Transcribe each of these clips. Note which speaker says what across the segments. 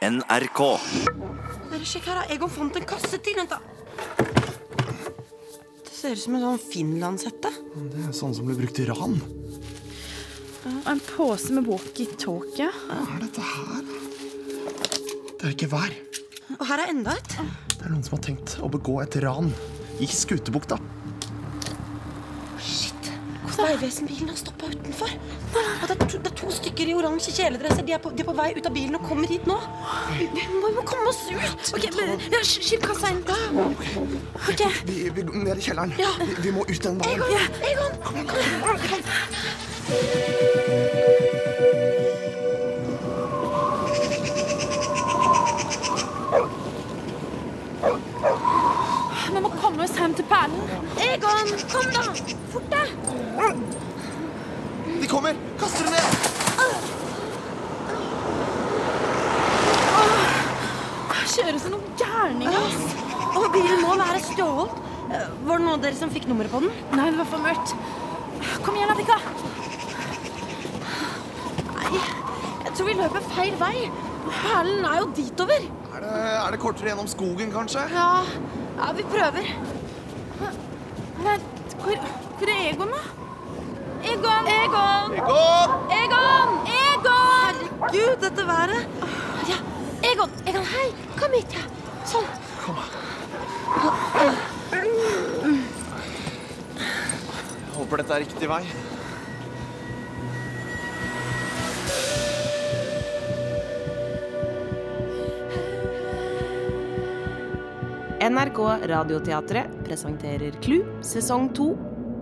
Speaker 1: NRK.
Speaker 2: Bare sjekk her, da. Egon fant en kasse til. Vent, da. Det ser ut som en sånn finlandshette.
Speaker 3: Det er sånn som ble brukt i ran.
Speaker 4: Og en pose med walkietalkie.
Speaker 3: Hva er dette her? Det er ikke vær.
Speaker 2: Og her er enda et.
Speaker 3: Det er noen som har tenkt å begå et ran i Skutebukta.
Speaker 2: Shit. Vegvesenbilen har stoppa utenfor. Og det er, to, det er to stykker i oransje kjeledresser. De er, på, de er på vei ut av bilen og kommer hit nå. Vi, vi må jo komme oss ut. Ok, men- ja, sk- Skill kassa inn. Ok.
Speaker 3: Vi, vi går ned i kjelleren.
Speaker 2: Ja.
Speaker 3: Vi, vi må ut den veien.
Speaker 2: Egon, Egon. kom, kom, kom.
Speaker 4: Vi må komme oss hjem til perlen.
Speaker 2: Egon, kom da. Fort deg.
Speaker 3: De kommer! Kaster dem ned!
Speaker 4: Kjører som noen gærninger.
Speaker 2: Og bilen må være stjålet. Eh, Var det noen av dere som fikk nummeret på den?
Speaker 4: Nei, det var for mørkt. Kom igjen, Annika. Nei, jeg tror vi løper feil vei. Perlen er jo ditover.
Speaker 3: Er det, er det kortere gjennom skogen, kanskje?
Speaker 4: Ja, ja vi prøver. Vent, hvor, hvor er Egon, da? Egon! Egon!
Speaker 3: Egon!
Speaker 4: Egon! Egon!
Speaker 2: Gud, dette været! Ja, Egon, Egon, hei! Kom hit, ja. Sånn.
Speaker 3: Håper dette er riktig vei.
Speaker 5: NRK Radioteatret presenterer Klu sesong 2.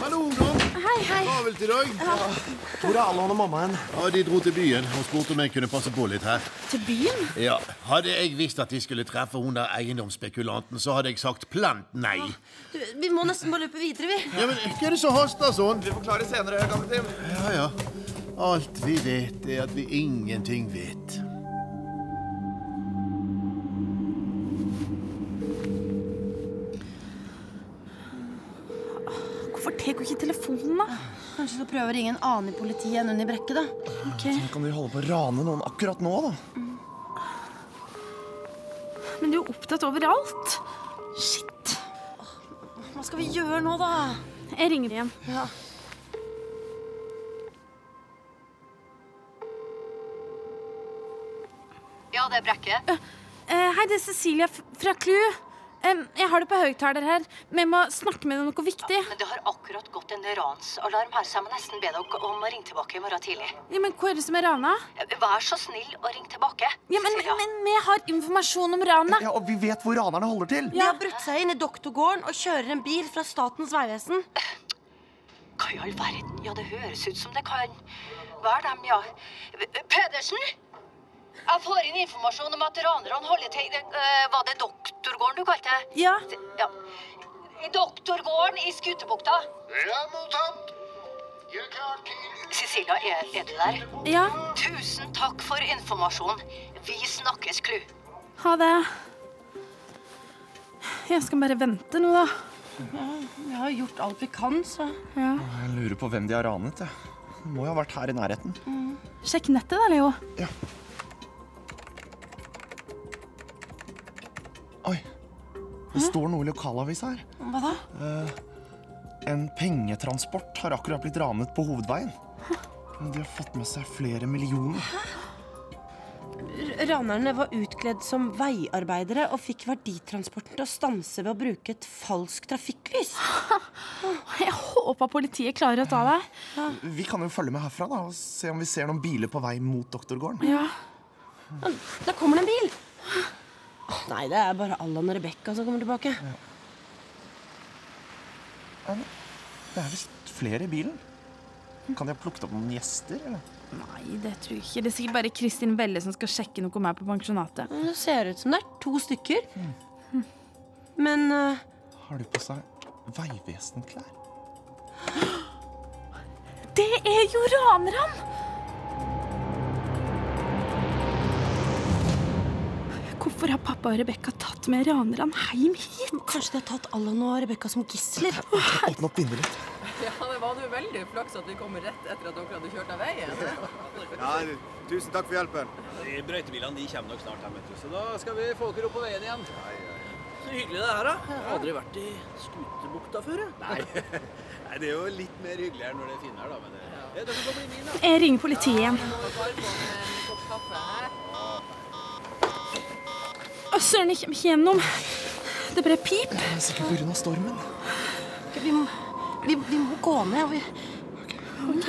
Speaker 6: Hallo, ungdom.
Speaker 4: Hei, hei.
Speaker 6: Travelt i dag.
Speaker 3: Hvor er Allan og mamma hen?
Speaker 6: Ja, De dro til byen og spurte om jeg kunne passe på litt her.
Speaker 4: Til byen?
Speaker 6: Ja, Hadde jeg visst at de skulle treffe hun der eiendomsspekulanten, så hadde jeg sagt plant nei.
Speaker 2: Du, vi må nesten bare løpe videre, vi.
Speaker 6: Ja, men Hva er det som haster sånn?
Speaker 3: Vi forklarer senere, kaptein.
Speaker 6: Ja, ja. Alt vi vet, er at vi ingenting vet.
Speaker 4: Hvorfor tar hun ikke telefonen, da?
Speaker 2: Kanskje du prøver å ringe en annen i politiet enn Unni Brekke, da?
Speaker 3: Nå kan de holde på å rane noen akkurat nå, da.
Speaker 4: Men du er jo opptatt overalt. Shit.
Speaker 2: Hva skal vi gjøre nå, da?
Speaker 4: Jeg ringer igjen.
Speaker 7: Ja, det er Brekke.
Speaker 4: Eh, hei, det er Cecilia f- fra Klu. Em, jeg har det på høyttaler her. Vi må snakke med deg om noe viktig.
Speaker 7: Men det har akkurat gått en ransalarm her, så jeg må nesten be dere om å ringe tilbake i morgen tidlig.
Speaker 4: Ja, men hva er det som er rana?
Speaker 7: Vær så snill og ring tilbake.
Speaker 4: Ja, men,
Speaker 7: Cecilia.
Speaker 4: men vi har informasjon om rana.
Speaker 3: Ja, og vi vet hvor ranerne holder til.
Speaker 2: De har brutt seg inn i doktorgården og kjører en bil fra Statens vegvesen.
Speaker 7: Hva i all verden? Ja, det høres ut som det kan være dem, ja. Pedersen? Jeg får inn informasjon om at ranerne holder til eh, Var det doktorgården du kalte det?
Speaker 4: Ja.
Speaker 7: Ja. I Doktorgården i Skutebukta.
Speaker 8: Ja, mottatt. Gjør klar til
Speaker 7: Cecilia, er, er du der?
Speaker 4: ja.
Speaker 7: Tusen takk for informasjon. Vi snakkes, Klu.
Speaker 4: Ha det. Jeg skal bare vente nå, da.
Speaker 2: Vi har gjort alt vi kan, så
Speaker 4: Ja.
Speaker 3: Jeg lurer på hvem de har ranet. jeg. Det må jo ha vært her i nærheten.
Speaker 4: Sjekk nettet, da, Leo.
Speaker 3: Oi, det står noe i lokalavisa her. Eh,
Speaker 2: Hva da?
Speaker 3: En pengetransport har akkurat blitt ranet på hovedveien. Men De har fått med seg flere millioner.
Speaker 2: Ranerne var utkledd som veiarbeidere og fikk verditransporten til å stanse ved å bruke et falskt trafikklys.
Speaker 4: Jeg håper politiet klarer å ta deg.
Speaker 3: Vi kan jo følge med herfra da, og se om vi ser noen biler på vei mot doktorgården.
Speaker 4: Ja.
Speaker 2: Der kommer det en bil! Nei, det er bare Allan og Rebekka som kommer tilbake.
Speaker 3: Det er visst flere i bilen. Kan de ha plukket opp noen gjester? eller?
Speaker 4: Nei, det tror jeg ikke. Det er sikkert bare Kristin Velle som skal sjekke noe mer på pensjonatet.
Speaker 2: Men Det ser ut som det er to stykker. Men eh,
Speaker 3: Har de på seg Vegvesen-klær?
Speaker 4: Det er jo ranerne! Hvorfor har pappa og Rebekka tatt med ranerne hjem hit?
Speaker 9: Kanskje de har tatt Allan og Rebekka som gisler?
Speaker 3: Åpne opp vinduet litt.
Speaker 10: Ja, det var nå veldig flaks at vi kom rett etter at dere hadde kjørt av veien.
Speaker 11: Ja, tusen takk for hjelpen.
Speaker 12: De brøytebilene de kommer nok snart her, vet du. Så da skal vi få dere opp på veien igjen. Så hyggelig det her, da. Jeg har aldri vært i Skutebukta før, jeg. Nei. Nei, det er jo litt mer hyggelig her når det er finvær, da. Men det, ja. dere kan bli min, da.
Speaker 4: Jeg ringer politiet igjen.
Speaker 10: Må vi bare få med en kopp kaffe her?
Speaker 4: Å, søren, jeg kommer ikke gjennom. Det ble pip.
Speaker 3: Det er Sikkert på grunn av stormen.
Speaker 9: Vi må, vi, vi må gå ned. og Vi,
Speaker 4: Ok.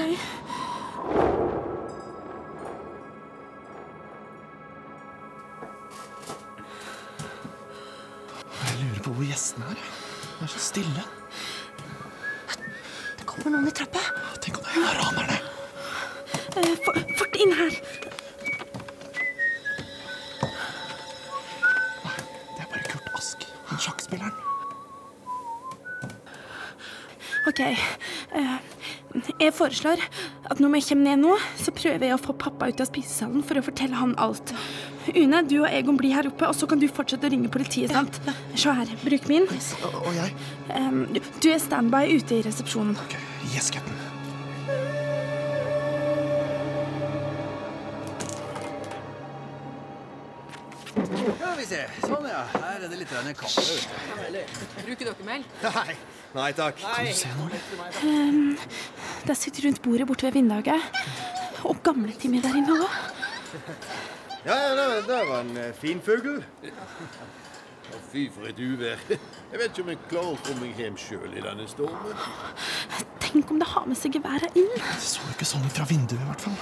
Speaker 3: Jeg lurer på hvor gjestene er. Det er så stille.
Speaker 9: det kommer noen i trappa.
Speaker 3: Tenk om det er ranerne.
Speaker 4: Eh, for- Fort inn her.
Speaker 3: Det er bare Kurt Ask, han sjakkspilleren.
Speaker 4: OK. Eh, Jeg foreslår at når jeg kommer ned nå, så prøver jeg å få pappa ut av spisesalen for å fortelle han alt. Une, du og Egon blir her oppe, og så kan du fortsette å ringe politiet. sant? Se her. Bruk min.
Speaker 3: Og, og jeg.
Speaker 4: Eh, du- Du er standby ute i resepsjonen.
Speaker 3: Ok, Yes, cap'n.
Speaker 12: Ja, vi ser. Sånn, ja. Her er det litt grann kaffe. vet du.
Speaker 10: Bruker dere melk?
Speaker 11: Nei, nei takk.
Speaker 3: Kan du se noe? eller?
Speaker 4: Der sitter rundt bordet borte ved vinduet. Og gamletimer der inne òg.
Speaker 11: Ja, ja, det, det var en eh, fin fugl.
Speaker 6: Å, fy, for et uvær. Jeg vet ikke om jeg klarer å komme meg hjem sjøl i denne stormen.
Speaker 4: Tenk om det har med seg geværet inn.
Speaker 3: De så jo ikke sånn ut fra vinduet, i hvert fall. De-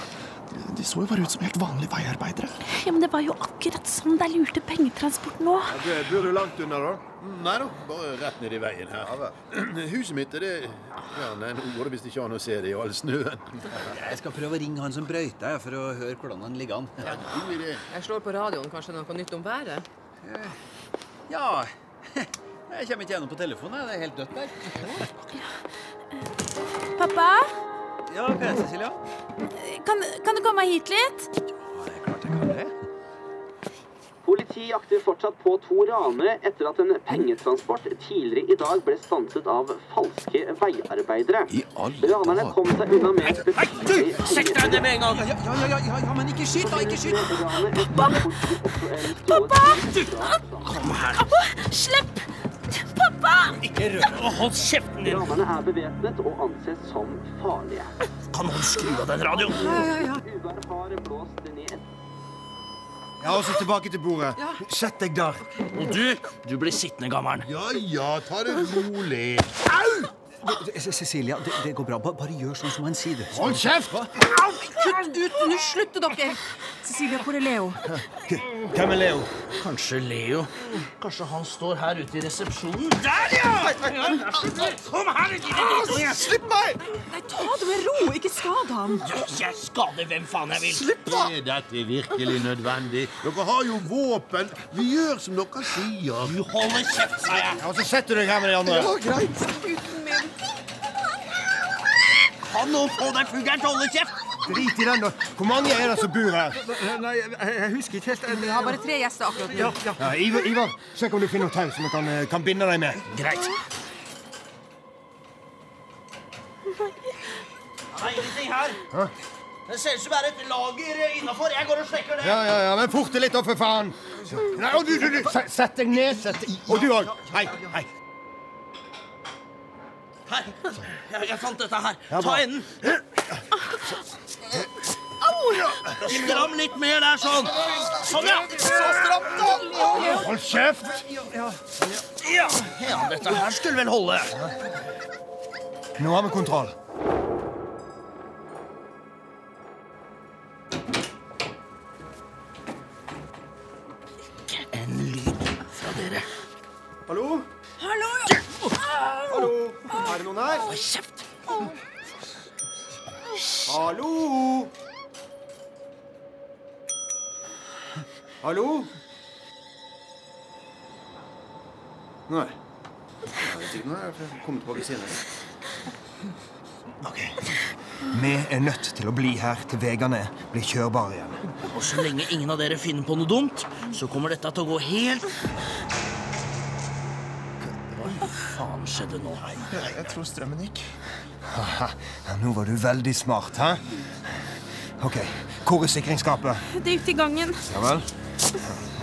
Speaker 3: De så jo bare ut som helt vanlige veiarbeidere.
Speaker 4: Ja, men Det var jo akkurat sånn de lurte pengetransporten òg.
Speaker 11: Ja, du- eh, Bor du langt unna, da?
Speaker 6: Mm, Nei da, bare rett ned i veien
Speaker 11: Ja,
Speaker 6: her.
Speaker 11: vel.
Speaker 6: Huset mitt er det Ja, nei, nå går det visst ikke an å se det i all snøen.
Speaker 12: Jeg skal prøve å ringe han som brøyta, jeg, for å høre hvordan han ligger an.
Speaker 6: Ja, god idé.
Speaker 10: Jeg slår på radioen kanskje noe nytt om været.
Speaker 12: Ja. Jeg kommer ikke gjennom på telefonen. jeg. Det er helt dødt der.
Speaker 4: Pappa,
Speaker 12: Ja, hva er det, Cecilia?
Speaker 4: kan, kan du komme hit litt?
Speaker 12: Ja, det er klart jeg kan det.
Speaker 13: Politiet jakter fortsatt på to ranere etter at en pengetransport tidligere i dag ble stanset av falske veiarbeidere.
Speaker 6: I alle
Speaker 13: Ranerne kom seg unna med betydelig pengestrøm.
Speaker 12: med en gang! Ja, ja, ja, ja, ja, men ikke skyt, da! Ikke skyt!
Speaker 13: Pappa! Pappa!
Speaker 4: Slipp! Pappa!
Speaker 13: Ranerne er bevæpnet og anses som farlige. Kan noen skru av den radioen? Uvær har blåst ned
Speaker 11: Ja, og så tilbake til bordet. Sett deg der.
Speaker 6: Ja ja, ta det rolig.
Speaker 12: Cecilia, det, går bra. Bare, gjør sånn som han sier.
Speaker 6: Hold kjeft!
Speaker 10: Kutt ut! Nå slutter dere!
Speaker 4: Cecilia, hvor er Leo?
Speaker 12: Hvem er Leo?
Speaker 13: Kanskje Leo. Kanskje han står her ute i resepsjonen?
Speaker 11: Slipp meg!
Speaker 10: Nei, ta det med ro! Ikke skad ham!
Speaker 13: Jeg skader hvem faen jeg vil.
Speaker 6: Er dette virkelig nødvendig? Dere har jo våpen. Vi gjør som dere sier.
Speaker 13: Du holder kjeft, sa jeg.
Speaker 11: Ja, og så setter du deg her med de andre.
Speaker 13: Kan noen få den fuglen til å holde kjeft?
Speaker 11: Drit i den, da. Hvor mange er det som bor her?
Speaker 12: Eh, Nei, jeg, jeg husker ikke helt.
Speaker 10: Vi har bare tre gjester akkurat nå.
Speaker 11: Ja, Ivar, Ivar, søk om du finner noe tau som du kan, eh, kan binde deg med.
Speaker 13: Greit.
Speaker 12: Det er ingenting her. Det ser ut som det er et lager innafor. Jeg går og sjekker det.
Speaker 11: Ja, ja, ja, men forte litt, da, for faen. Nei, og du, du, du, se- sett deg ned. Sett deg. Og du òg. Hei, hei.
Speaker 12: Her. Jeg, jeg fant dette her.
Speaker 11: Ja,
Speaker 12: Ta
Speaker 11: bra.
Speaker 12: enden. Au! Stram litt mer der, sånn. Sånn, ja. Så stramt, da.
Speaker 11: Hold kjeft.
Speaker 12: Ja. ja, dette her skulle vel holde.
Speaker 11: Nå har vi kontroll. En lyd fra dere. Hallo? Hallo? Hallo? Er det noen her? Hold kjeft. Hallo? Hallo? Nei. Jeg vet ikke når jeg kommer tilbake senere.
Speaker 3: Vi er nødt til å bli her til veiene blir kjørbare igjen.
Speaker 13: Og så lenge ingen av dere finner på noe dumt, så kommer dette til å gå helt Hva faen skjedde nå?
Speaker 14: Jeg, jeg tror strømmen gikk.
Speaker 3: Haha, Nå var du veldig smart, hæ? OK, hvor er sikringsskapet?
Speaker 4: Det er ute i gangen.
Speaker 3: Ja vel?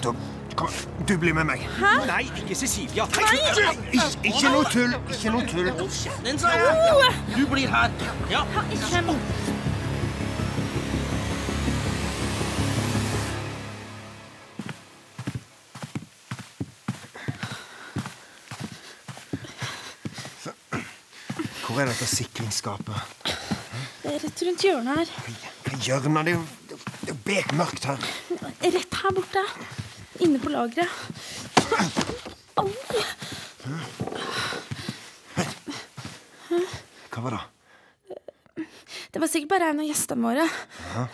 Speaker 3: Da, kom, du blir med meg.
Speaker 4: Hæ?
Speaker 13: Nei, ikke Cecilia.
Speaker 3: Nei! Ik- ikke noe tull, ikke noe tull.
Speaker 13: Hold kjeften din, sa jeg. Du blir her. Ja.
Speaker 3: Hvor er dette sikringsskapet?
Speaker 4: Det er rett rundt hjørnet her.
Speaker 3: Hva gjør den av det? er jo- Det er jo bekmørkt her.
Speaker 4: Rett her borte. Inne på lageret. Au!
Speaker 3: Hva var det?
Speaker 4: Det var sikkert bare en av gjestene våre.
Speaker 3: Hæ?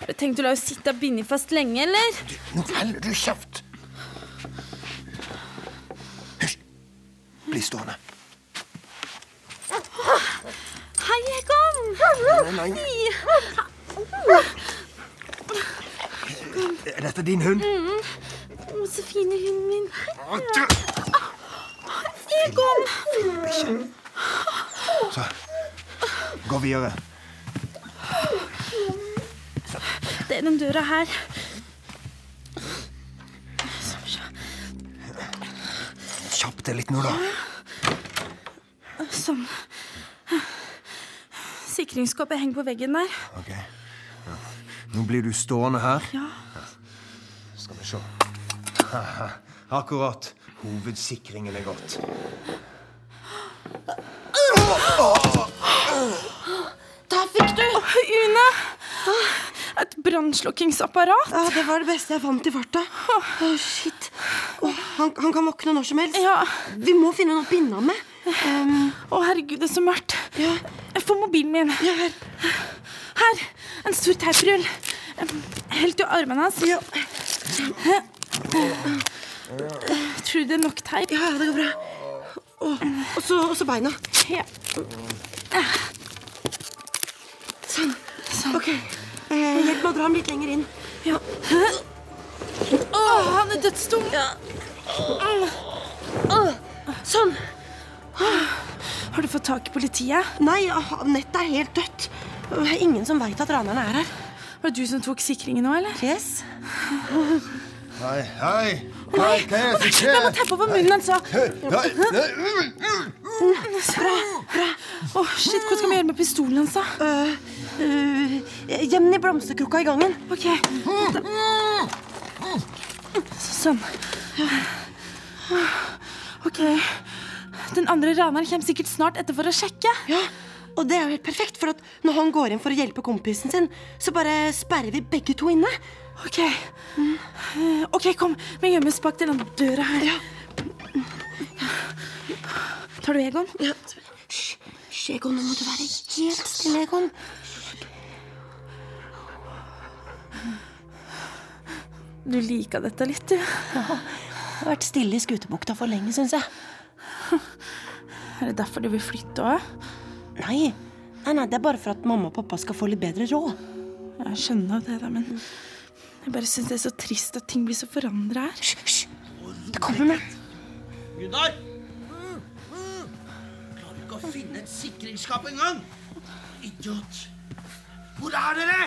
Speaker 4: Har du tenkt å la oss sitte bindet fast lenge, eller?
Speaker 3: Nå holder du kjeft! Bli stående.
Speaker 4: Hei, jeg kom!
Speaker 3: Nei, nei.
Speaker 4: Hei.
Speaker 3: Er dette din hund?
Speaker 4: Mm. Å, så fin er hunden min. Egon!
Speaker 3: Så, gå videre.
Speaker 4: Det er den døra her. Skal vi se.
Speaker 3: Kjapp deg litt nå, da.
Speaker 4: Sånn. Sikringsskapet henger på veggen der.
Speaker 3: Ok. Ja. Nå blir du stående her.
Speaker 4: Ja.
Speaker 3: Skal vi se. Haha, Akkurat. Hovedsikringen er gått.
Speaker 2: Der fikk du!
Speaker 4: Une! Et brannslukkingsapparat.
Speaker 2: Ja, Ah, Det var det beste jeg fant i farta. Å, shit. Å, han, han kan våkne når som helst. Vi må finne noe å binde ham med.
Speaker 4: Å, herregud, det er så mørkt. Jeg får mobilen min. her. En stor teiprull. Helt i armene hans. Tror du det er nok teip? Ja, det går bra.
Speaker 2: Og så, og så beina. Sånn. OK. Eh, hjelp meg å dra ham litt lenger inn.
Speaker 4: Ja. Å, han er dødstung.
Speaker 2: Sånn.
Speaker 4: Har du fått tak i politiet?
Speaker 2: Nei, ah, nettet er helt dødt. Det er ingen som veit at ranerne er her.
Speaker 4: Var det du som tok sikringen nå, eller?
Speaker 2: Yes.
Speaker 3: Hei, hei! Hei, hva er det som
Speaker 4: Jeg må
Speaker 3: skjer?
Speaker 4: teppe over munnen hans.
Speaker 3: Nei,
Speaker 4: altså. Bra. bra. Å, shit, Hva skal vi gjøre med pistolen hans, da?
Speaker 2: Gjem den i Eh, blomsterkrukka i gangen.
Speaker 4: Ok. Sånn. Ok. Den andre raneren kommer sikkert snart etter for å sjekke.
Speaker 2: Ja, og det er jo helt perfekt, for at når han går inn for å hjelpe kompisen sin, så bare sperrer vi begge to inne.
Speaker 4: Ok. Eh, Ok, kom. Vi gjemmes bak den andre døra her. Tar du Egon?
Speaker 2: Ja. Hysj, Egon, nå må du være helt stille, Egon.
Speaker 4: Du liker dette litt, du.
Speaker 2: Jeg har vært stille i Skutebukta for lenge, syns jeg.
Speaker 4: Er det derfor du vil flytte òg?
Speaker 2: Nei. nei, nei, det er bare for at mamma og pappa skal få litt bedre råd.
Speaker 4: Jeg skjønner det, da, men jeg bare syns det er så trist at ting blir så forandra her.
Speaker 2: Det kommer med.
Speaker 13: Gunnar! Klarer ikke å finne et sikringsskap engang! Idiot! Hvor er dere?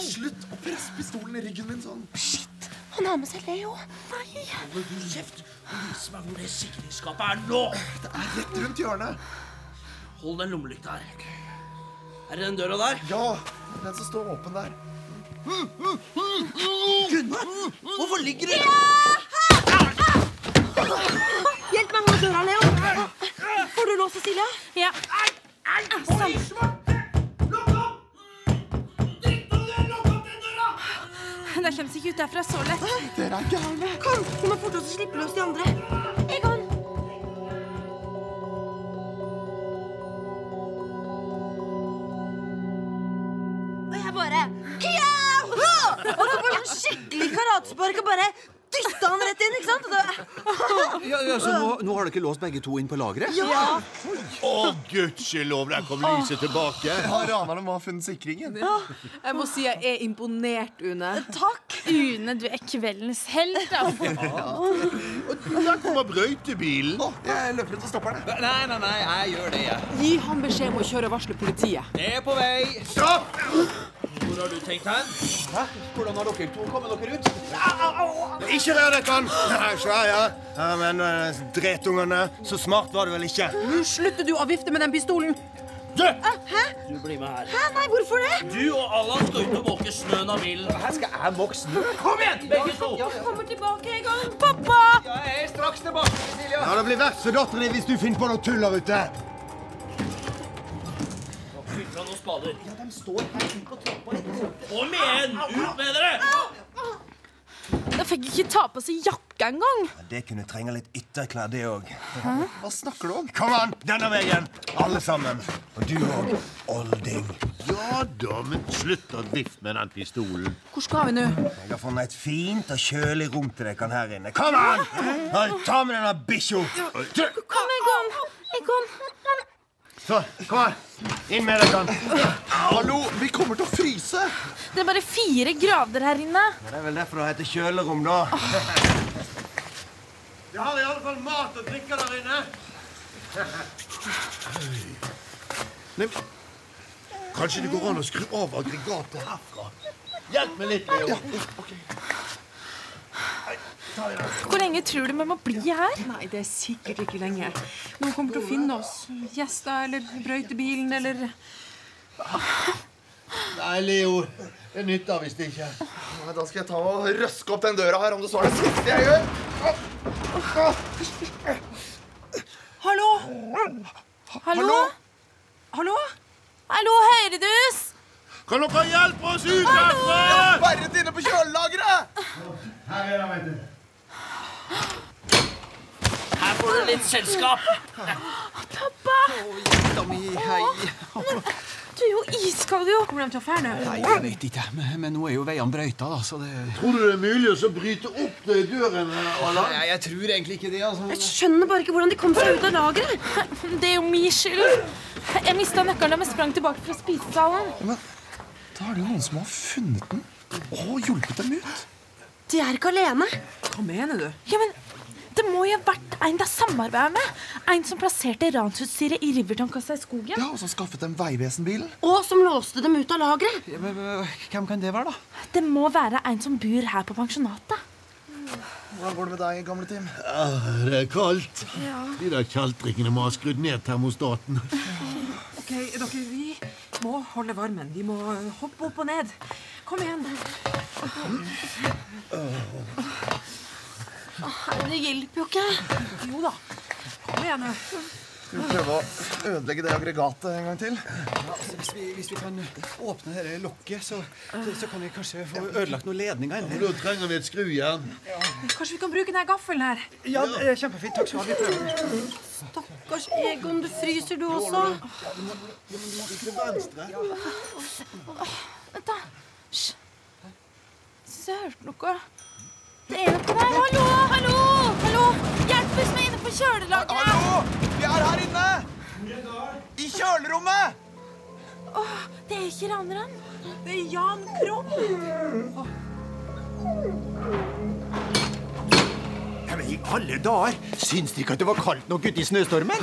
Speaker 14: Slutt å presse pistolen i ryggen min sånn.
Speaker 2: Shit, han har med seg Leo. Nei.
Speaker 13: Holder du kjeft og vis meg hvor det sikringsskapet er nå! Det er rett rundt hjørnet. Hold den lommelykta her. Er det den døra der? Ja. Den som står åpen der. Gunnar! Hvorfor ligger du
Speaker 2: Hjelp meg med døra, Leo. Får du låse, Silja?
Speaker 4: Ja.
Speaker 2: Sånn.
Speaker 4: De kommer seg ikke ut derfra så lett.
Speaker 2: Dere er gærne. Kom, vi må forte oss å slippe løs de andre. Egon!
Speaker 15: Og jeg bare «Kjau!» Og så får jeg en skikkelig karatespark og bare
Speaker 16: dytta han rett inn, ikke sant? Og det-
Speaker 17: Ja, ja, så nå, nå har dere låst begge to inn på lageret?
Speaker 16: Ja.
Speaker 6: Å, gudskjelov, der kom lyset tilbake.
Speaker 3: Ja, Ranerne må ha funnet sikringen.
Speaker 18: Jeg må si jeg er imponert, Une.
Speaker 4: Takk! Une, du er kveldens helt, da.
Speaker 6: Der kommer brøytebilen.
Speaker 3: Jeg løper ut og stopper den.
Speaker 19: Nei, nei, nei, jeg gjør det, jeg.
Speaker 18: Gi ham beskjed om å kjøre og varsle politiet.
Speaker 19: Det er på vei. Stopp! Hvor har du tenkt hen? Hæ? Hvordan har dere to kommet dere ut?
Speaker 20: Ikke rør dette! Nei, så er jeg. Ja, men eh, dretungene, så smart var du vel ikke?
Speaker 18: Nå slutter du å vifte med den pistolen.
Speaker 19: Du!
Speaker 18: Hæ?
Speaker 19: Du blir med her.
Speaker 18: Hæ? Nei, hvorfor det?
Speaker 13: Du og Allan skal ut og måke snøen av bilen. Her skal jeg måke snø? Kom igjen, begge to!
Speaker 4: kommer tilbake en gang. Pappa!
Speaker 19: Jeg er straks tilbake, Cecilia.
Speaker 20: Ja, Det blir verst for datteren din hvis du finner på noe tull der ute.
Speaker 13: Fy fra noen spader. Ja, de står her ute på trappa. Kom igjen, ut med dere!
Speaker 4: Jeg fikk ikke ta på seg jakka engang.
Speaker 20: Det kunne trenge litt ytterklær, det òg.
Speaker 3: Hva snakker du om?
Speaker 20: Kom an, denne veien! Alle sammen. Og du òg, olding.
Speaker 6: Ja da, men slutt å vifte med den pistolen.
Speaker 18: Hvor skal vi nå?
Speaker 20: Jeg har funnet et fint og kjølig rom til dere her inne. Kom an! Oi, Ta med denne bikkja!
Speaker 4: Kom, Egon. Egon.
Speaker 20: Sånn. Kom her. Inn med dere.
Speaker 3: Hallo, vi kommer til å fryse!
Speaker 4: Det er bare fire grader her inne.
Speaker 20: Det er vel derfor det heter kjølerom, da.
Speaker 13: Vi har i alle fall mat og drikke der inne.
Speaker 6: Nei, men- kanskje det går an å skru av aggregatet herfra? Hjelp meg litt, Leo.
Speaker 4: Hvor lenge tror du vi må bli her?
Speaker 18: Nei, det er sikkert ikke lenge. Noen kommer til å finne oss. Gjester eller brøytebilen eller
Speaker 6: Nei, Leo. Det nytter visst ikke.
Speaker 3: Nei, da skal jeg ta og røske opp den døra her, om det så er det siste jeg gjør.
Speaker 18: Hallo? Hallo? Hallo?
Speaker 4: Hallo, hører du oss?
Speaker 6: Kan dere hjelpe oss ut
Speaker 4: herfra?
Speaker 3: Sperret inne på kjølelageret!
Speaker 13: Her er det, vet du. Her får du litt selskap.
Speaker 4: Pappa!
Speaker 17: Jenta mi, hei.
Speaker 4: Du er jo iskald, jo.
Speaker 18: Kommer de til å fære
Speaker 17: Nei, jeg vet ikke, men, men nå er jo veiene brøyta, da, så det
Speaker 6: Tror du det er mulig å så bryte opp de dørene? Allan?
Speaker 17: Nei, jeg tror egentlig ikke det,
Speaker 4: Jeg
Speaker 17: altså.
Speaker 4: skjønner bare ikke hvordan de kom seg ut av lageret. Det er jo min skyld. Jeg mista nøkkelen da vi sprang tilbake fra spisesalen.
Speaker 3: Da er det jo noen som har funnet den og hjulpet dem ut.
Speaker 4: De er ikke alene.
Speaker 18: Hva mener du?
Speaker 4: Ja, men det må jo ha vært en de samarbeider med. En som plasserte ransutstyret i Riverton-kassa i skogen.
Speaker 3: Ja, Og som skaffet dem Vegvesenbilen.
Speaker 4: Og som låste dem ut av lageret.
Speaker 17: Ja, men, men, hvem kan det være, da?
Speaker 4: Det må være en som bor her på pensjonatet.
Speaker 3: Hvordan går det med deg, gamle Tim?
Speaker 6: Ah, det er kaldt.
Speaker 18: Ja.
Speaker 6: De der kjeltringene må ha skrudd ned termostaten.
Speaker 18: OK, dere, vi må holde varmen. Vi må hoppe opp og ned. Kom igjen.
Speaker 4: Det hjelper jo ikke.
Speaker 18: Jo da. Kom igjen. nå.
Speaker 3: Skal vi prøve å ødelegge det aggregatet en gang til?
Speaker 17: Altså, hvis, vi, hvis vi kan åpne dette lokket, så, så, så kan vi kanskje få ødelagt noen ledninger.
Speaker 6: Da trenger vi et skrujern.
Speaker 18: Kanskje vi kan bruke denne gaffelen her?
Speaker 17: Ja, eh, kjempefint. Takk skal du ha. Vi prøver.
Speaker 2: Stakkars Egon, du fryser du også.
Speaker 4: Vent, da. Hysj. Jeg syns jeg hørte noe. Det er jo ikke der. Hallo, hallo! hallo! Hjelp oss med inne på kjølelageret! Hallo!
Speaker 13: Vi er her inne! I kjølerommet!
Speaker 4: Åh, det er ikke raneren.
Speaker 18: Det er Jan Krohn.
Speaker 17: Ja, men I alle dager! Syns de ikke at det var kaldt nok ute i snøstormen?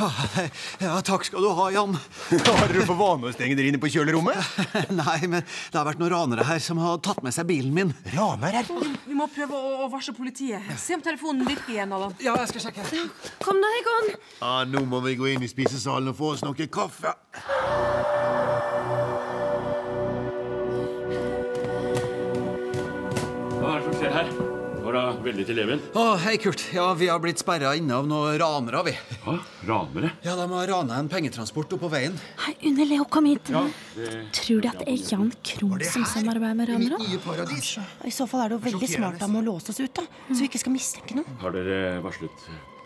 Speaker 17: Ja, Takk skal du ha, Jan. Har dere for vane å stenge dere inne på kjølerommet? Nei, men det har vært noen ranere her som har tatt med seg bilen min. Ranere?
Speaker 18: Vi må prøve å, å varsle politiet. Se om telefonen virker igjen, Allan.
Speaker 17: Ja, jeg skal sjekke.
Speaker 4: Kom da, Egon.
Speaker 6: Ah, nå må vi gå inn i spisesalen og få oss noe kaffe.
Speaker 10: Hva er det som skjer her? Går det veldig til leven?
Speaker 17: Å, hei, Kurt. Ja, Vi har blitt sperra inne av noen ranere, vi.
Speaker 10: Hva? Ranere?
Speaker 17: Ja, De har rana en pengetransport oppå veien.
Speaker 4: Hei, Une Leo, kom hit.
Speaker 17: det-
Speaker 4: Tror de at det er Jan Krohn som samarbeider med ranere?
Speaker 2: I så fall er det jo veldig smart av ham å låse oss ut, da. Så vi ikke skal mistenke noen.
Speaker 10: Har dere varslet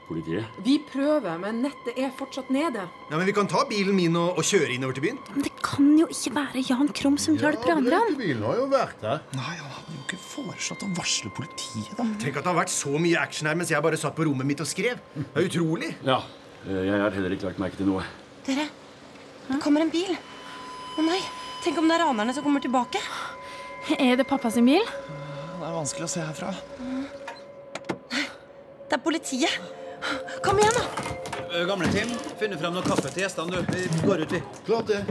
Speaker 10: Politiet?
Speaker 21: Vi prøver, men nettet er fortsatt nede.
Speaker 17: Ja, men Vi kan ta bilen min og, og kjøre innover til byen.
Speaker 4: Men det kan jo ikke være Jan Krom som hjelper andre. han.
Speaker 17: Bilen har jo vært der.
Speaker 20: Nei, Han hadde jo ikke foreslått å varsle
Speaker 17: politiet, da. Tenk at det har vært så mye action her mens jeg bare satt på rommet mitt og skrev. Det er utrolig.
Speaker 10: Ja. eh, Jeg har heller ikke lagt merke til noe.
Speaker 2: Dere, det kommer en bil. Å nei, tenk om det er ranerne som kommer tilbake.
Speaker 4: Er det pappa sin bil?
Speaker 3: Det er vanskelig å se herfra.
Speaker 2: Det er politiet. Kom igjen, da.
Speaker 19: Ø, Gamle Tim, funnet fram noe kaffe til gjestene. du. Vi går ut, vi. Klart det.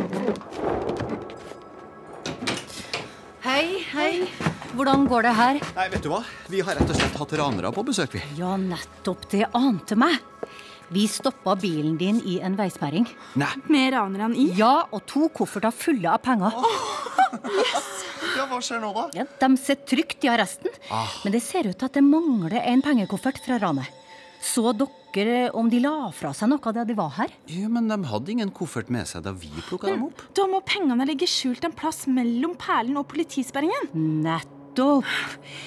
Speaker 22: Hei, hei. Hvordan går det her?
Speaker 17: Nei, vet du hva? Vi har rett og slett hatt ranere på besøk, vi.
Speaker 22: Ja, nettopp. Det ante meg. Vi stoppa bilen din i en veisperring.
Speaker 17: Nei.
Speaker 4: Med ranerne i?
Speaker 22: Ja, og to kofferter fulle av penger.
Speaker 3: Ja, hva skjer nå, da?
Speaker 22: Ja, de sitter trygt i arresten,
Speaker 3: Ah.
Speaker 22: men det ser ut til at det mangler en pengekoffert fra ranet. Så dere om de la fra seg noe da de var her?
Speaker 23: Ja, Men de hadde ingen koffert med seg da vi plukka dem opp.
Speaker 4: Da må pengene ligge skjult en plass mellom perlen og politisperringen.
Speaker 22: Nettopp.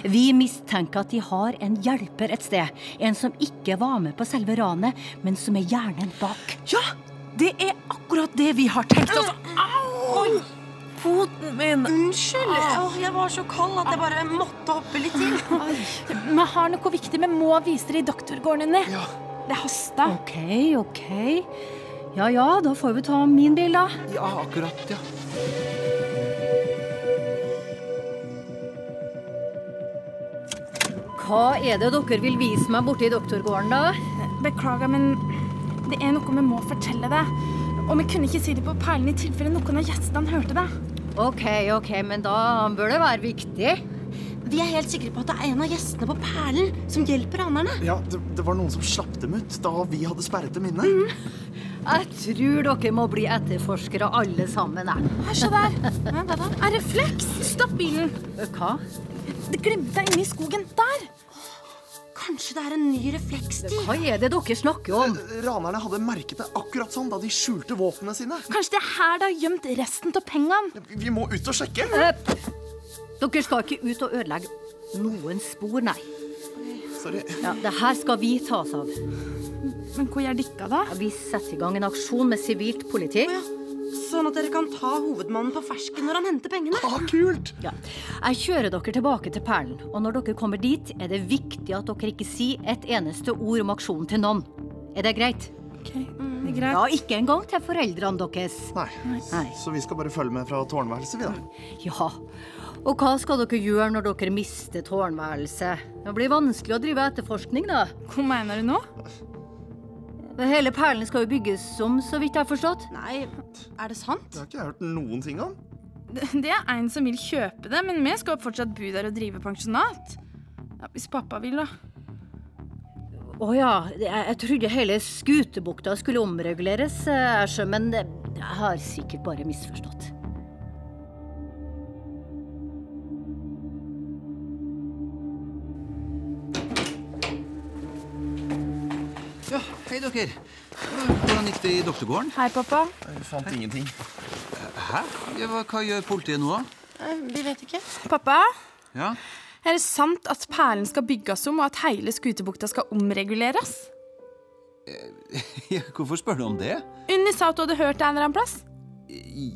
Speaker 22: Vi mistenker at de har en hjelper et sted. En som ikke var med på selve ranet, men som er hjernen bak.
Speaker 21: Ja, det er akkurat det vi har tenkt oss. Au! Oi, foten min.
Speaker 2: Unnskyld. Åh, jeg var så kald at jeg bare måtte hoppe litt til.
Speaker 4: Vi har noe viktig vi må vise deg i doktorgården din. Det haster.
Speaker 22: Ok, ok. Ja ja, da får vi ta min bil, da.
Speaker 23: Ja, akkurat, ja.
Speaker 22: Hva er det dere vil vise meg borte i doktorgården, da?
Speaker 4: Beklager, men det er noe vi må fortelle deg. Og vi kunne ikke si det på perlen i tilfelle noen av gjestene hørte det.
Speaker 22: Ok, ok, men da bør det være viktig.
Speaker 2: Vi er helt sikre på at det er en av gjestene på Perlen som hjelper ranerne.
Speaker 3: Ja, det, det var noen som slapp dem ut da vi hadde sperret dem inne.
Speaker 22: Jeg tror dere må bli etterforskere alle sammen. jeg.
Speaker 4: Hør, se der. Hva da? En refleks. Stopp bilen.
Speaker 22: Hva?
Speaker 4: Det glimta inne i skogen der.
Speaker 2: Kanskje det er en ny reflekssti?
Speaker 22: Hva er det dere snakker om?
Speaker 3: Ranerne hadde merket det akkurat sånn da de skjulte våpnene sine.
Speaker 4: Kanskje det er her det har gjemt resten av pengene.
Speaker 3: Vi må ut og sjekke.
Speaker 22: Dere skal ikke ut og ødelegge noen spor, nei.
Speaker 3: Sorry.
Speaker 22: Ja, det her skal vi ta oss av.
Speaker 4: Men hvor gjør dere da?
Speaker 22: Vi setter i gang en aksjon med sivilt politi.
Speaker 2: Sånn at dere kan ta hovedmannen på fersken når han henter pengene.
Speaker 3: Ah, kult!
Speaker 22: Ja. Jeg kjører dere tilbake til Perlen, og når dere kommer dit, er det viktig at dere ikke sier et eneste ord om aksjonen til noen. Er det greit?
Speaker 2: Mm.
Speaker 4: det er greit.
Speaker 22: Ja, ikke engang til foreldrene deres. Nei.
Speaker 3: Så vi skal bare følge med fra tårnværelset, vi, da.
Speaker 22: Ja. Og hva skal dere gjøre når dere mister tårnværelset? Det blir vanskelig å drive etterforskning, da.
Speaker 4: Hva mener du nå?
Speaker 22: Hele perlen skal jo bygges om, så vidt jeg har forstått.
Speaker 2: Nei, er det sant?
Speaker 3: Det har ikke jeg hørt noen ting om.
Speaker 4: Det det er en som vil kjøpe det, men vi skal fortsatt bo der og drive pensjonat. Ja, hvis pappa vil, da.
Speaker 22: Å ja, jeg, jeg trodde hele Skutebukta skulle omreguleres, eh, jeg skjønner, men eh, jeg har sikkert bare misforstått.
Speaker 23: Ja, hei dere. Hvordan gikk det i doktorgården?
Speaker 4: Hei, pappa.
Speaker 3: Jeg fant ingenting.
Speaker 23: Hæ? Ja, hva, hva gjør politiet nå, da?
Speaker 4: Vi vet ikke. Pappa?
Speaker 23: Ja?
Speaker 4: Er det sant at Perlen skal bygges om, og at hele Skutebukta skal omreguleres?
Speaker 23: ja? Hvorfor spør du om det?
Speaker 4: Unni sa at du hadde hørt det en eller annen plass.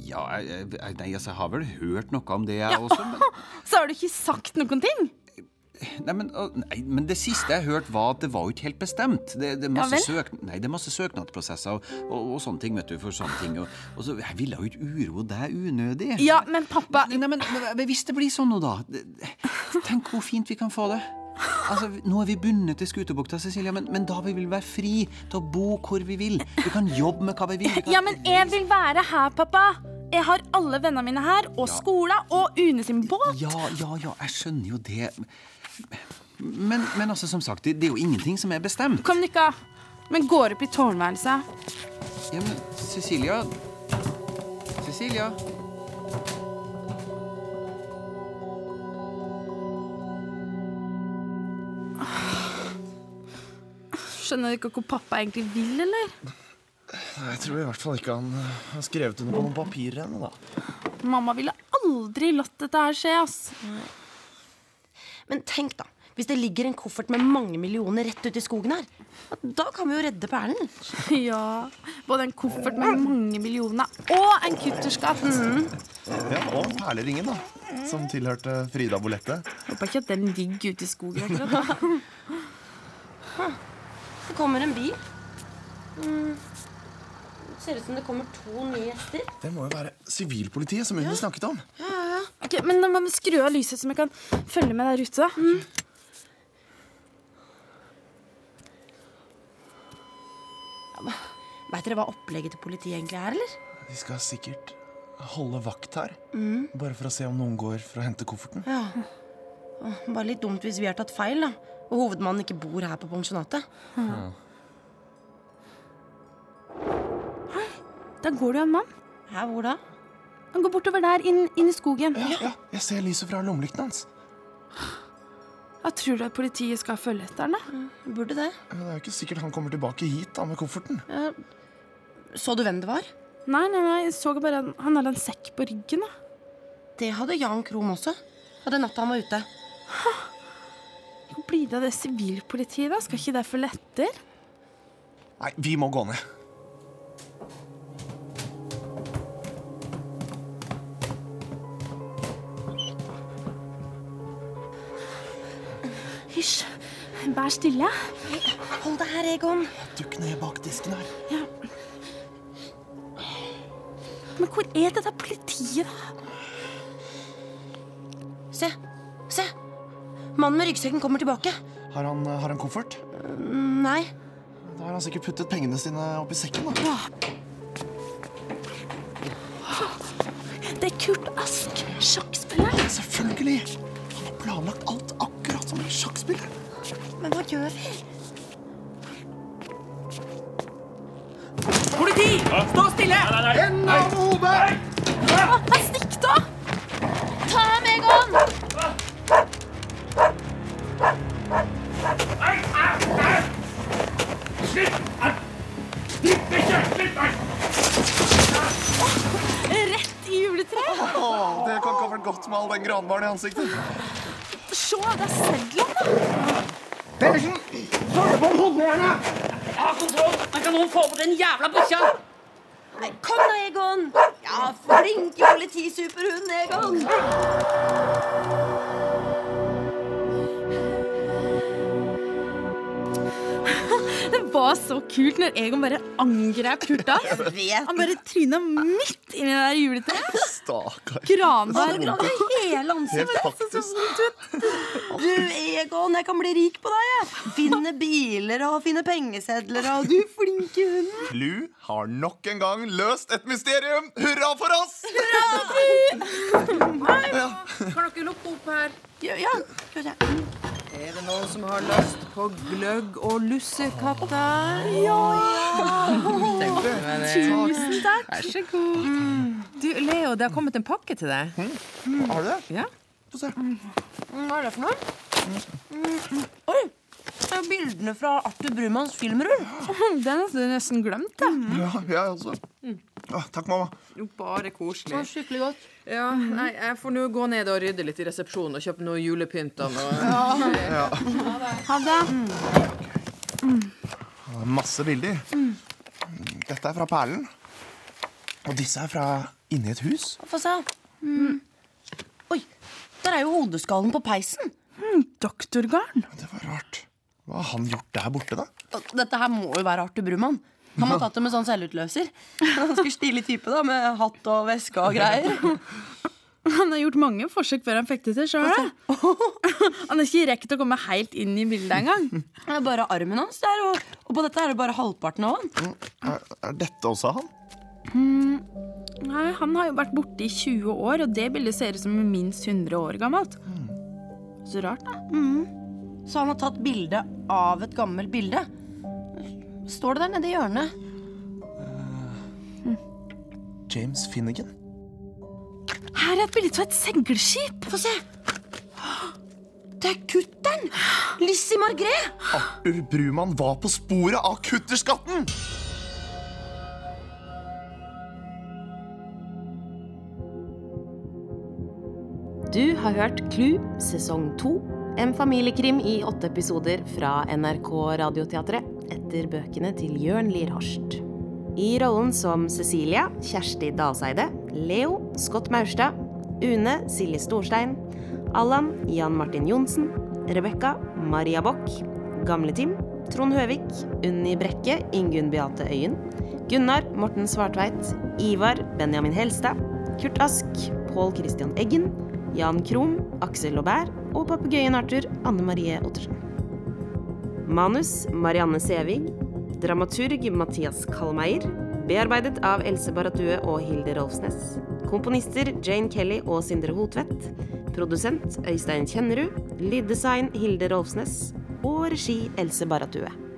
Speaker 23: Ja, jeg, jeg- nei, altså, jeg har vel hørt noe om det, jeg også. Men,
Speaker 4: Så har du ikke sagt noen ting.
Speaker 23: nei, men, å, nei, men det siste jeg hørte, var at det var jo ikke helt bestemt. Det, det, er
Speaker 4: Ja
Speaker 23: masse
Speaker 4: vel?
Speaker 23: søk, nei, det er masse søknadsprosesser og, og, og sånne ting, vet du, for sånne ting. Og, og så, jeg ville jo ikke uroe deg unødig.
Speaker 4: Ja, men pappa
Speaker 23: Nei, men, men, men hvis det blir sånn nå, da det- det- Tenk hvor fint vi kan få det. Altså, vi- Nå er vi bundet til Skutebukta, Cecilia, men, men da vi vil være fri til å bo hvor vi vil. Vi kan jobbe med hva vi vil. Vi kan...
Speaker 4: Ja, men jeg vil være her, pappa. Jeg har alle vennene mine her, og skolen, og Une sin båt.
Speaker 23: Ja, ja, ja, jeg skjønner jo det. Men, men altså, som sagt, det, det er jo ingenting som er bestemt.
Speaker 4: Kom, Nikka. Men går opp i tårnværelset.
Speaker 23: Ja, men Cecilia Cecilia?
Speaker 4: Skjønner dere hvor pappa egentlig vil, eller?
Speaker 3: Nei, Jeg tror i hvert fall ikke han eh, har skrevet under på noen papirer ennå, da.
Speaker 4: Mamma ville aldri latt dette her skje, ass.
Speaker 2: Men tenk, da. Hvis det ligger en koffert med mange millioner rett ute i skogen her, da kan vi jo redde perlen.
Speaker 4: Ja. Både en koffert med mange millioner og en kutterskatt.
Speaker 3: Ja, og perleringen, da. Som tilhørte Frida Bolette.
Speaker 4: Håper ikke at den ligger ute i skogen akkurat.
Speaker 2: Det kommer en bil. Mm. Ser ut som det kommer to nye gjester.
Speaker 3: Det må jo være sivilpolitiet som Unni snakket om.
Speaker 4: Ok, men nå må vi skru av lyset, så vi kan følge med der ute.
Speaker 2: Veit dere hva opplegget til politiet egentlig er, eller?
Speaker 3: De skal sikkert holde vakt her.
Speaker 2: Mm.
Speaker 3: Bare for å se om noen går for å hente kofferten.
Speaker 2: Ja. Åh, Bare litt dumt hvis vi har tatt feil, da. Og hovedmannen ikke bor her på pensjonatet.
Speaker 3: Ja.
Speaker 4: Da går det jo en mann.
Speaker 2: Hæ, hvor da?
Speaker 4: Han går bortover der, inn, inn i skogen.
Speaker 3: Jeg ser lyset fra lommelykten hans.
Speaker 4: Jeg tror du at politiet skal følge etter han, da?
Speaker 2: Burde det.
Speaker 3: Men det er jo ikke sikkert han kommer tilbake hit da med kofferten.
Speaker 2: Så du hvem det var?
Speaker 4: Nei, nei, nei, jeg så bare en- han hadde en sekk på ryggen, da.
Speaker 2: Det hadde Jan Krohm også. Hadde natta han var ute.
Speaker 4: Hvor blir det av det sivilpolitiet, da? Skal ikke det følge etter?
Speaker 3: Nei, vi må gå ned.
Speaker 4: Hysj. Vær stille.
Speaker 2: Hold deg her, Egon.
Speaker 3: Dukk ned bak disken her.
Speaker 4: Ja. Men hvor er det der politiet, da?
Speaker 2: Se. Se. Mannen med ryggsekken kommer tilbake.
Speaker 3: Har han, eh, har han koffert? Mm,
Speaker 2: Nei.
Speaker 3: Da har han sikkert puttet pengene sine oppi sekken. da.
Speaker 4: Det er Kurt Ask, sjakkspilleren.
Speaker 3: Selvfølgelig. Han har planlagt alt akkurat som en sjakkspiller.
Speaker 2: Men hva gjør vi?
Speaker 21: Politi! Stå stille! Hendene av hodet!
Speaker 4: Men stikk, da!
Speaker 21: Ta meg om!
Speaker 4: Rett i juletreet.
Speaker 3: Åh, det kan koffert godt med all den granbaren i ansiktet.
Speaker 4: Se, det er sedlene!
Speaker 13: Pedersen! Følg på hodehårene!
Speaker 16: Ha kontroll! Men kan noen få bort den jævla bikkja?
Speaker 2: Nei, Kom da, Egon! Ja, flinke politisuperhund, Egon!
Speaker 4: Det var så kult når Egon bare angrep Kurta. Han bare tryna midt inni det der juletreet.
Speaker 3: Stakkar.
Speaker 4: Granbar
Speaker 2: Han gravde hele ansiktet.
Speaker 3: Helt faktisk.
Speaker 2: Du, Egon, jeg kan bli rik på deg. jeg. Finne biler og finne pengesedler og Du flinke hunden.
Speaker 3: Clou har nok en gang løst et mysterium. Hurra for oss!
Speaker 13: Kan dere lukke opp her?
Speaker 2: Ja, ja. skal vi se.
Speaker 18: Er det noen som har lyst på gløgg og lussekatta?
Speaker 16: Tusen takk.
Speaker 18: Vær så god. Du, Leo, det har kommet en pakke til deg.
Speaker 3: Mm. Har du det?
Speaker 18: Ja.
Speaker 3: Få se.
Speaker 2: Hva er det for noe? Mm, mm. Oi! Det er jo bildene fra Arthur Brumanns filmrull. Mm,
Speaker 4: Den hadde jeg nesten glemt. Da.
Speaker 18: Mm.
Speaker 3: Ja, jeg også. Åh, takk, mamma.
Speaker 13: Jo, bare koselig.
Speaker 18: var skikkelig godt.
Speaker 13: Ja, nei, jeg får nå gå ned og rydde litt i resepsjonen og kjøpe noe julepynt. og noe-
Speaker 3: Ja.
Speaker 4: Ha det.
Speaker 3: Det er Masse bilder. Dette er fra Perlen. Og disse er fra inni et hus.
Speaker 2: Få se. Mm. Oi, der er jo hodeskallen på peisen.
Speaker 4: doktorgarn.
Speaker 3: Hva har han gjort der borte, da?
Speaker 2: Dette her må jo være Arthur Brumann. Han må ha tatt det med sånn selvutløser. Ganske stilig type, da, med hatt og veske og greier.
Speaker 4: Han har gjort mange forsøk før han fikk det til sjøl. Han har ikke rekt å komme helt inn i bildet engang.
Speaker 2: Det er bare armen hans der, og, og på dette er det bare halvparten av han.
Speaker 3: Er, er dette også han?
Speaker 4: Mm. Nei, han har jo vært borte i 20 år, og det bildet ser ut som minst 100 år gammelt. Så rart, da.
Speaker 2: Så han har tatt bilde av et gammelt bilde. Står det der nede i hjørnet?
Speaker 3: James Finnegan.
Speaker 4: Her er et bilde av et seilskip.
Speaker 2: Få se. Det er kutteren! Lizzie Margret!
Speaker 18: Ah.
Speaker 3: Arthur Brumann var på sporet av kutterskatten!
Speaker 5: Du har hørt Klu sesong to, En familiekrim i åtte episoder fra NRK Radioteatret etter bøkene til Jørn Lier Horst. I rollen som Cecilia, Kjersti Dalseide, Leo, Scott Maurstad, Une, Silje Storstein, Allan, Jan Martin Johnsen, Rebekka, Maria Bock, Gamle-Tim, Trond Høvik, Unni Brekke, Ingunn Beate Øyen, Gunnar, Morten Svartveit, Ivar, Benjamin Helstad, Kurt Ask, Pål Christian Eggen, Jan Krohm, Aksel Aubert og papegøyen Arthur, Anne Marie Ottersen. Manus Marianne Sævig. Dramaturg Mathias Kalmeier. Bearbeidet av Else Baratue og Hilde Rolfsnes. Komponister Jane Kelly og Sindre Hotvedt. Produsent Øystein Kjennerud. Lyddesign Hilde Rolfsnes. Og regi Else Baratue.